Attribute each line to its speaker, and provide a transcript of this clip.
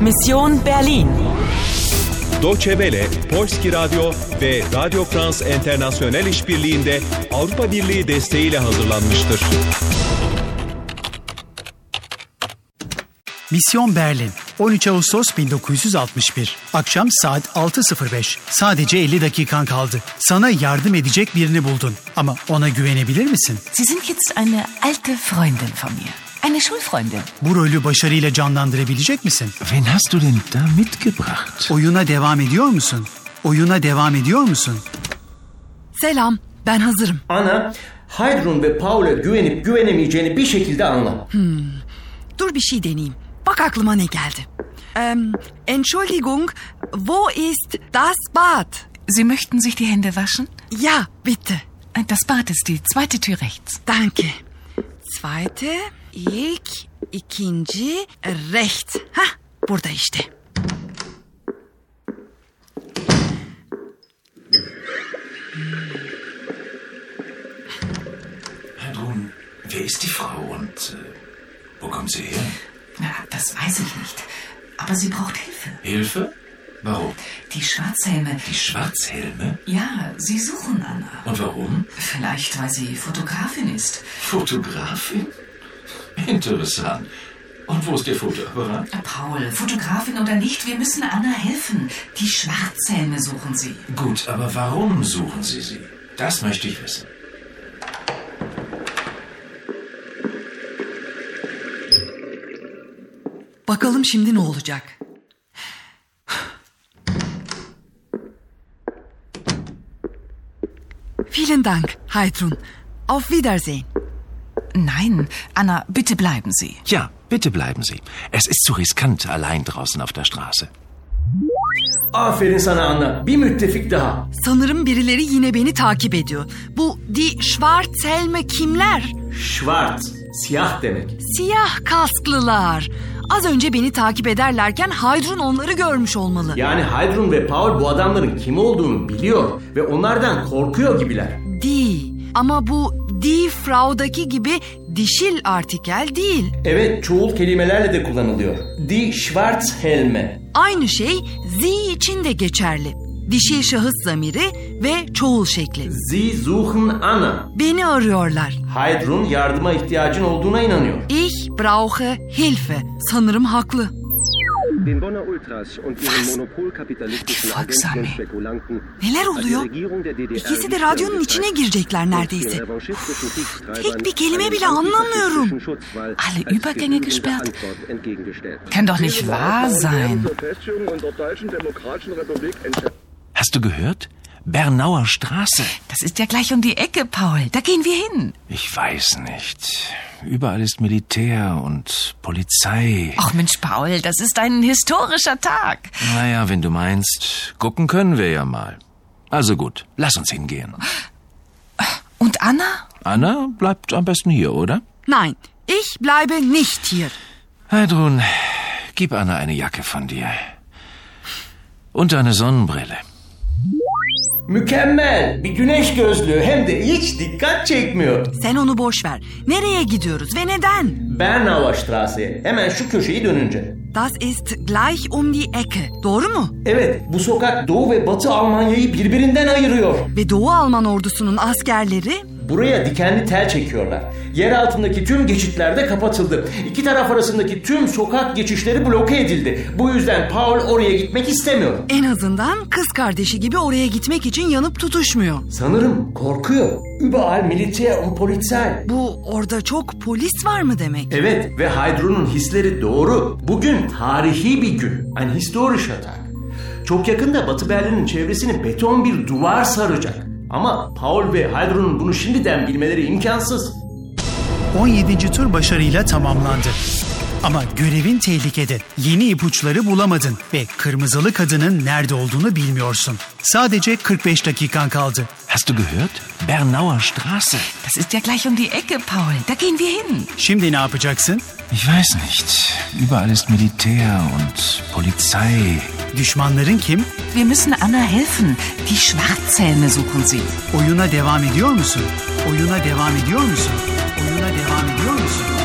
Speaker 1: Mission Berlin.
Speaker 2: Deutsche Welle, Polski Radyo ve Radio France International işbirliğinde Avrupa Birliği desteğiyle hazırlanmıştır.
Speaker 3: Misyon Berlin. 13 Ağustos 1961. Akşam saat 6.05. Sadece 50 dakikan kaldı. Sana yardım edecek birini buldun. Ama ona güvenebilir misin?
Speaker 4: Sie sind jetzt eine alte Freundin von mir. Eine Schulfreundin.
Speaker 3: Bu rolü başarıyla canlandırabilecek misin?
Speaker 5: Wen hast du denn da mitgebracht?
Speaker 3: Oyuna devam ediyor musun? Oyuna devam ediyor musun?
Speaker 4: Selam, ben hazırım.
Speaker 6: Ana, Haydrun ve Paul'a güvenip güvenemeyeceğini bir şekilde anla.
Speaker 4: Dur bir şey deneyeyim. Bak aklıma ne geldi. Ähm, Entschuldigung, wo ist das Bad?
Speaker 7: Sie möchten sich die Hände waschen?
Speaker 4: Ja, bitte.
Speaker 7: Das Bad ist die zweite Tür rechts.
Speaker 4: Danke. Zweite, ilk, ikinci, recht. Hah, burada işte.
Speaker 5: Heidrun, wer ist die Frau und äh, wo kommt sie her?
Speaker 7: Na, das weiß ich nicht. Aber sie braucht Hilfe.
Speaker 5: Hilfe? Warum?
Speaker 7: Die Schwarzhelme.
Speaker 5: Die Schwarzhelme?
Speaker 7: Ja, sie suchen Anna.
Speaker 5: Und warum?
Speaker 7: Vielleicht, weil sie Fotografin ist.
Speaker 5: Fotografin? Interessant. Und wo ist ihr Fotoapparat?
Speaker 7: Paul, Fotografin oder nicht, wir müssen Anna helfen. Die Schwarzhelme suchen sie.
Speaker 5: Gut, aber warum suchen Sie sie? Das möchte ich wissen.
Speaker 4: Bakalım şimdi ne olacak? Vielen Dank, Heidrun. Auf Wiedersehen.
Speaker 7: Nein, Anna, bitte bleiben Sie.
Speaker 5: Ja, bitte bleiben Sie. Es ist zu riskant, allein draußen auf der Straße.
Speaker 6: Aferin sana Anna, bir müttefik daha.
Speaker 4: Sanırım birileri yine beni takip ediyor. Bu Die Schwarzhelme kimler?
Speaker 6: Schwarz, siyah demek.
Speaker 4: Siyah kasklılar. Az önce beni takip ederlerken Haydrun onları görmüş olmalı.
Speaker 6: Yani Haydrun ve Paul bu adamların kim olduğunu biliyor ve onlardan korkuyor gibiler.
Speaker 4: Di. Ama bu di fraudaki gibi dişil artikel değil.
Speaker 6: Evet, çoğul kelimelerle de kullanılıyor. Die Schwarzhelme.
Speaker 4: Aynı şey zi için de geçerli. Dişil şahıs zamiri ve çoğul şekli.
Speaker 6: Sie suchen Anna.
Speaker 4: Beni arıyorlar.
Speaker 6: Haydrun yardıma ihtiyacın olduğuna inanıyor.
Speaker 4: Ich brauche Hilfe.
Speaker 7: um
Speaker 4: Sanırım haklı.
Speaker 8: Den Bonner Ultras und ihren monopolkapitalistischen Agenten und
Speaker 7: Volksarmee.
Speaker 8: Spekulanten
Speaker 4: Neler
Speaker 8: hat die
Speaker 4: oluyor?
Speaker 8: Regierung der DDR
Speaker 4: İkisi de radyonun içine girecekler neredeyse. Tek bir kelime bile anlamıyorum.
Speaker 7: Alle Übergänge gesperrt? Kann doch nicht wahr sein.
Speaker 5: Hast du gehört? Bernauer Straße.
Speaker 7: Das ist ja gleich um die Ecke, Paul. Da gehen wir hin.
Speaker 5: Ich weiß nicht. Überall ist Militär und Polizei.
Speaker 7: Ach Mensch, Paul, das ist ein historischer Tag.
Speaker 5: Naja, wenn du meinst, gucken können wir ja mal. Also gut, lass uns hingehen.
Speaker 7: Und Anna?
Speaker 5: Anna bleibt am besten hier, oder?
Speaker 4: Nein, ich bleibe nicht hier.
Speaker 5: Heidrun, gib Anna eine Jacke von dir. Und eine Sonnenbrille.
Speaker 6: Mükemmel, bir güneş gözlüğü hem de hiç dikkat çekmiyor.
Speaker 4: Sen onu boş ver. Nereye gidiyoruz ve neden?
Speaker 6: Bernauer Straße, hemen şu köşeyi dönünce.
Speaker 4: Das ist gleich um die Ecke. Doğru mu?
Speaker 6: Evet, bu sokak Doğu ve Batı Almanya'yı birbirinden ayırıyor.
Speaker 4: Ve Doğu Alman ordusunun askerleri
Speaker 6: Buraya dikenli tel çekiyorlar. Yer altındaki tüm geçitler de kapatıldı. İki taraf arasındaki tüm sokak geçişleri bloke edildi. Bu yüzden Paul oraya gitmek istemiyor.
Speaker 4: en azından kız kardeşi gibi oraya gitmek için yanıp tutuşmuyor.
Speaker 6: Sanırım korkuyor. Überall Militär und Polizei.
Speaker 4: Bu orada çok polis var mı demek?
Speaker 6: Evet ve Haydrun'un hisleri doğru. Bugün tarihi bir gün. Ein historischer Tag. Çok yakında Batı Berlin'in çevresini beton bir duvar saracak. Ama Paul ve Haydrun'un bunu şimdiden bilmeleri imkansız.
Speaker 3: 17. tur başarıyla tamamlandı. Ama görevin tehlikede. Yeni ipuçları bulamadın ve kırmızılı kadının nerede olduğunu bilmiyorsun. Sadece 45 dakikan kaldı.
Speaker 5: Hast du gehört? Bernauer Straße.
Speaker 7: Das ist ja gleich um die Ecke, Paul. Da gehen wir hin.
Speaker 3: Şimdi ne yapacaksın?
Speaker 5: Ich weiß nicht. Überall ist Militär und Polizei.
Speaker 3: Düşmanların kim?
Speaker 7: Wir müssen Anna helfen. Die Schwarzhelme suchen sie.
Speaker 3: Oyuna devam ediyor musun? Oyuna devam ediyor musun? Oyuna devam ediyor musun?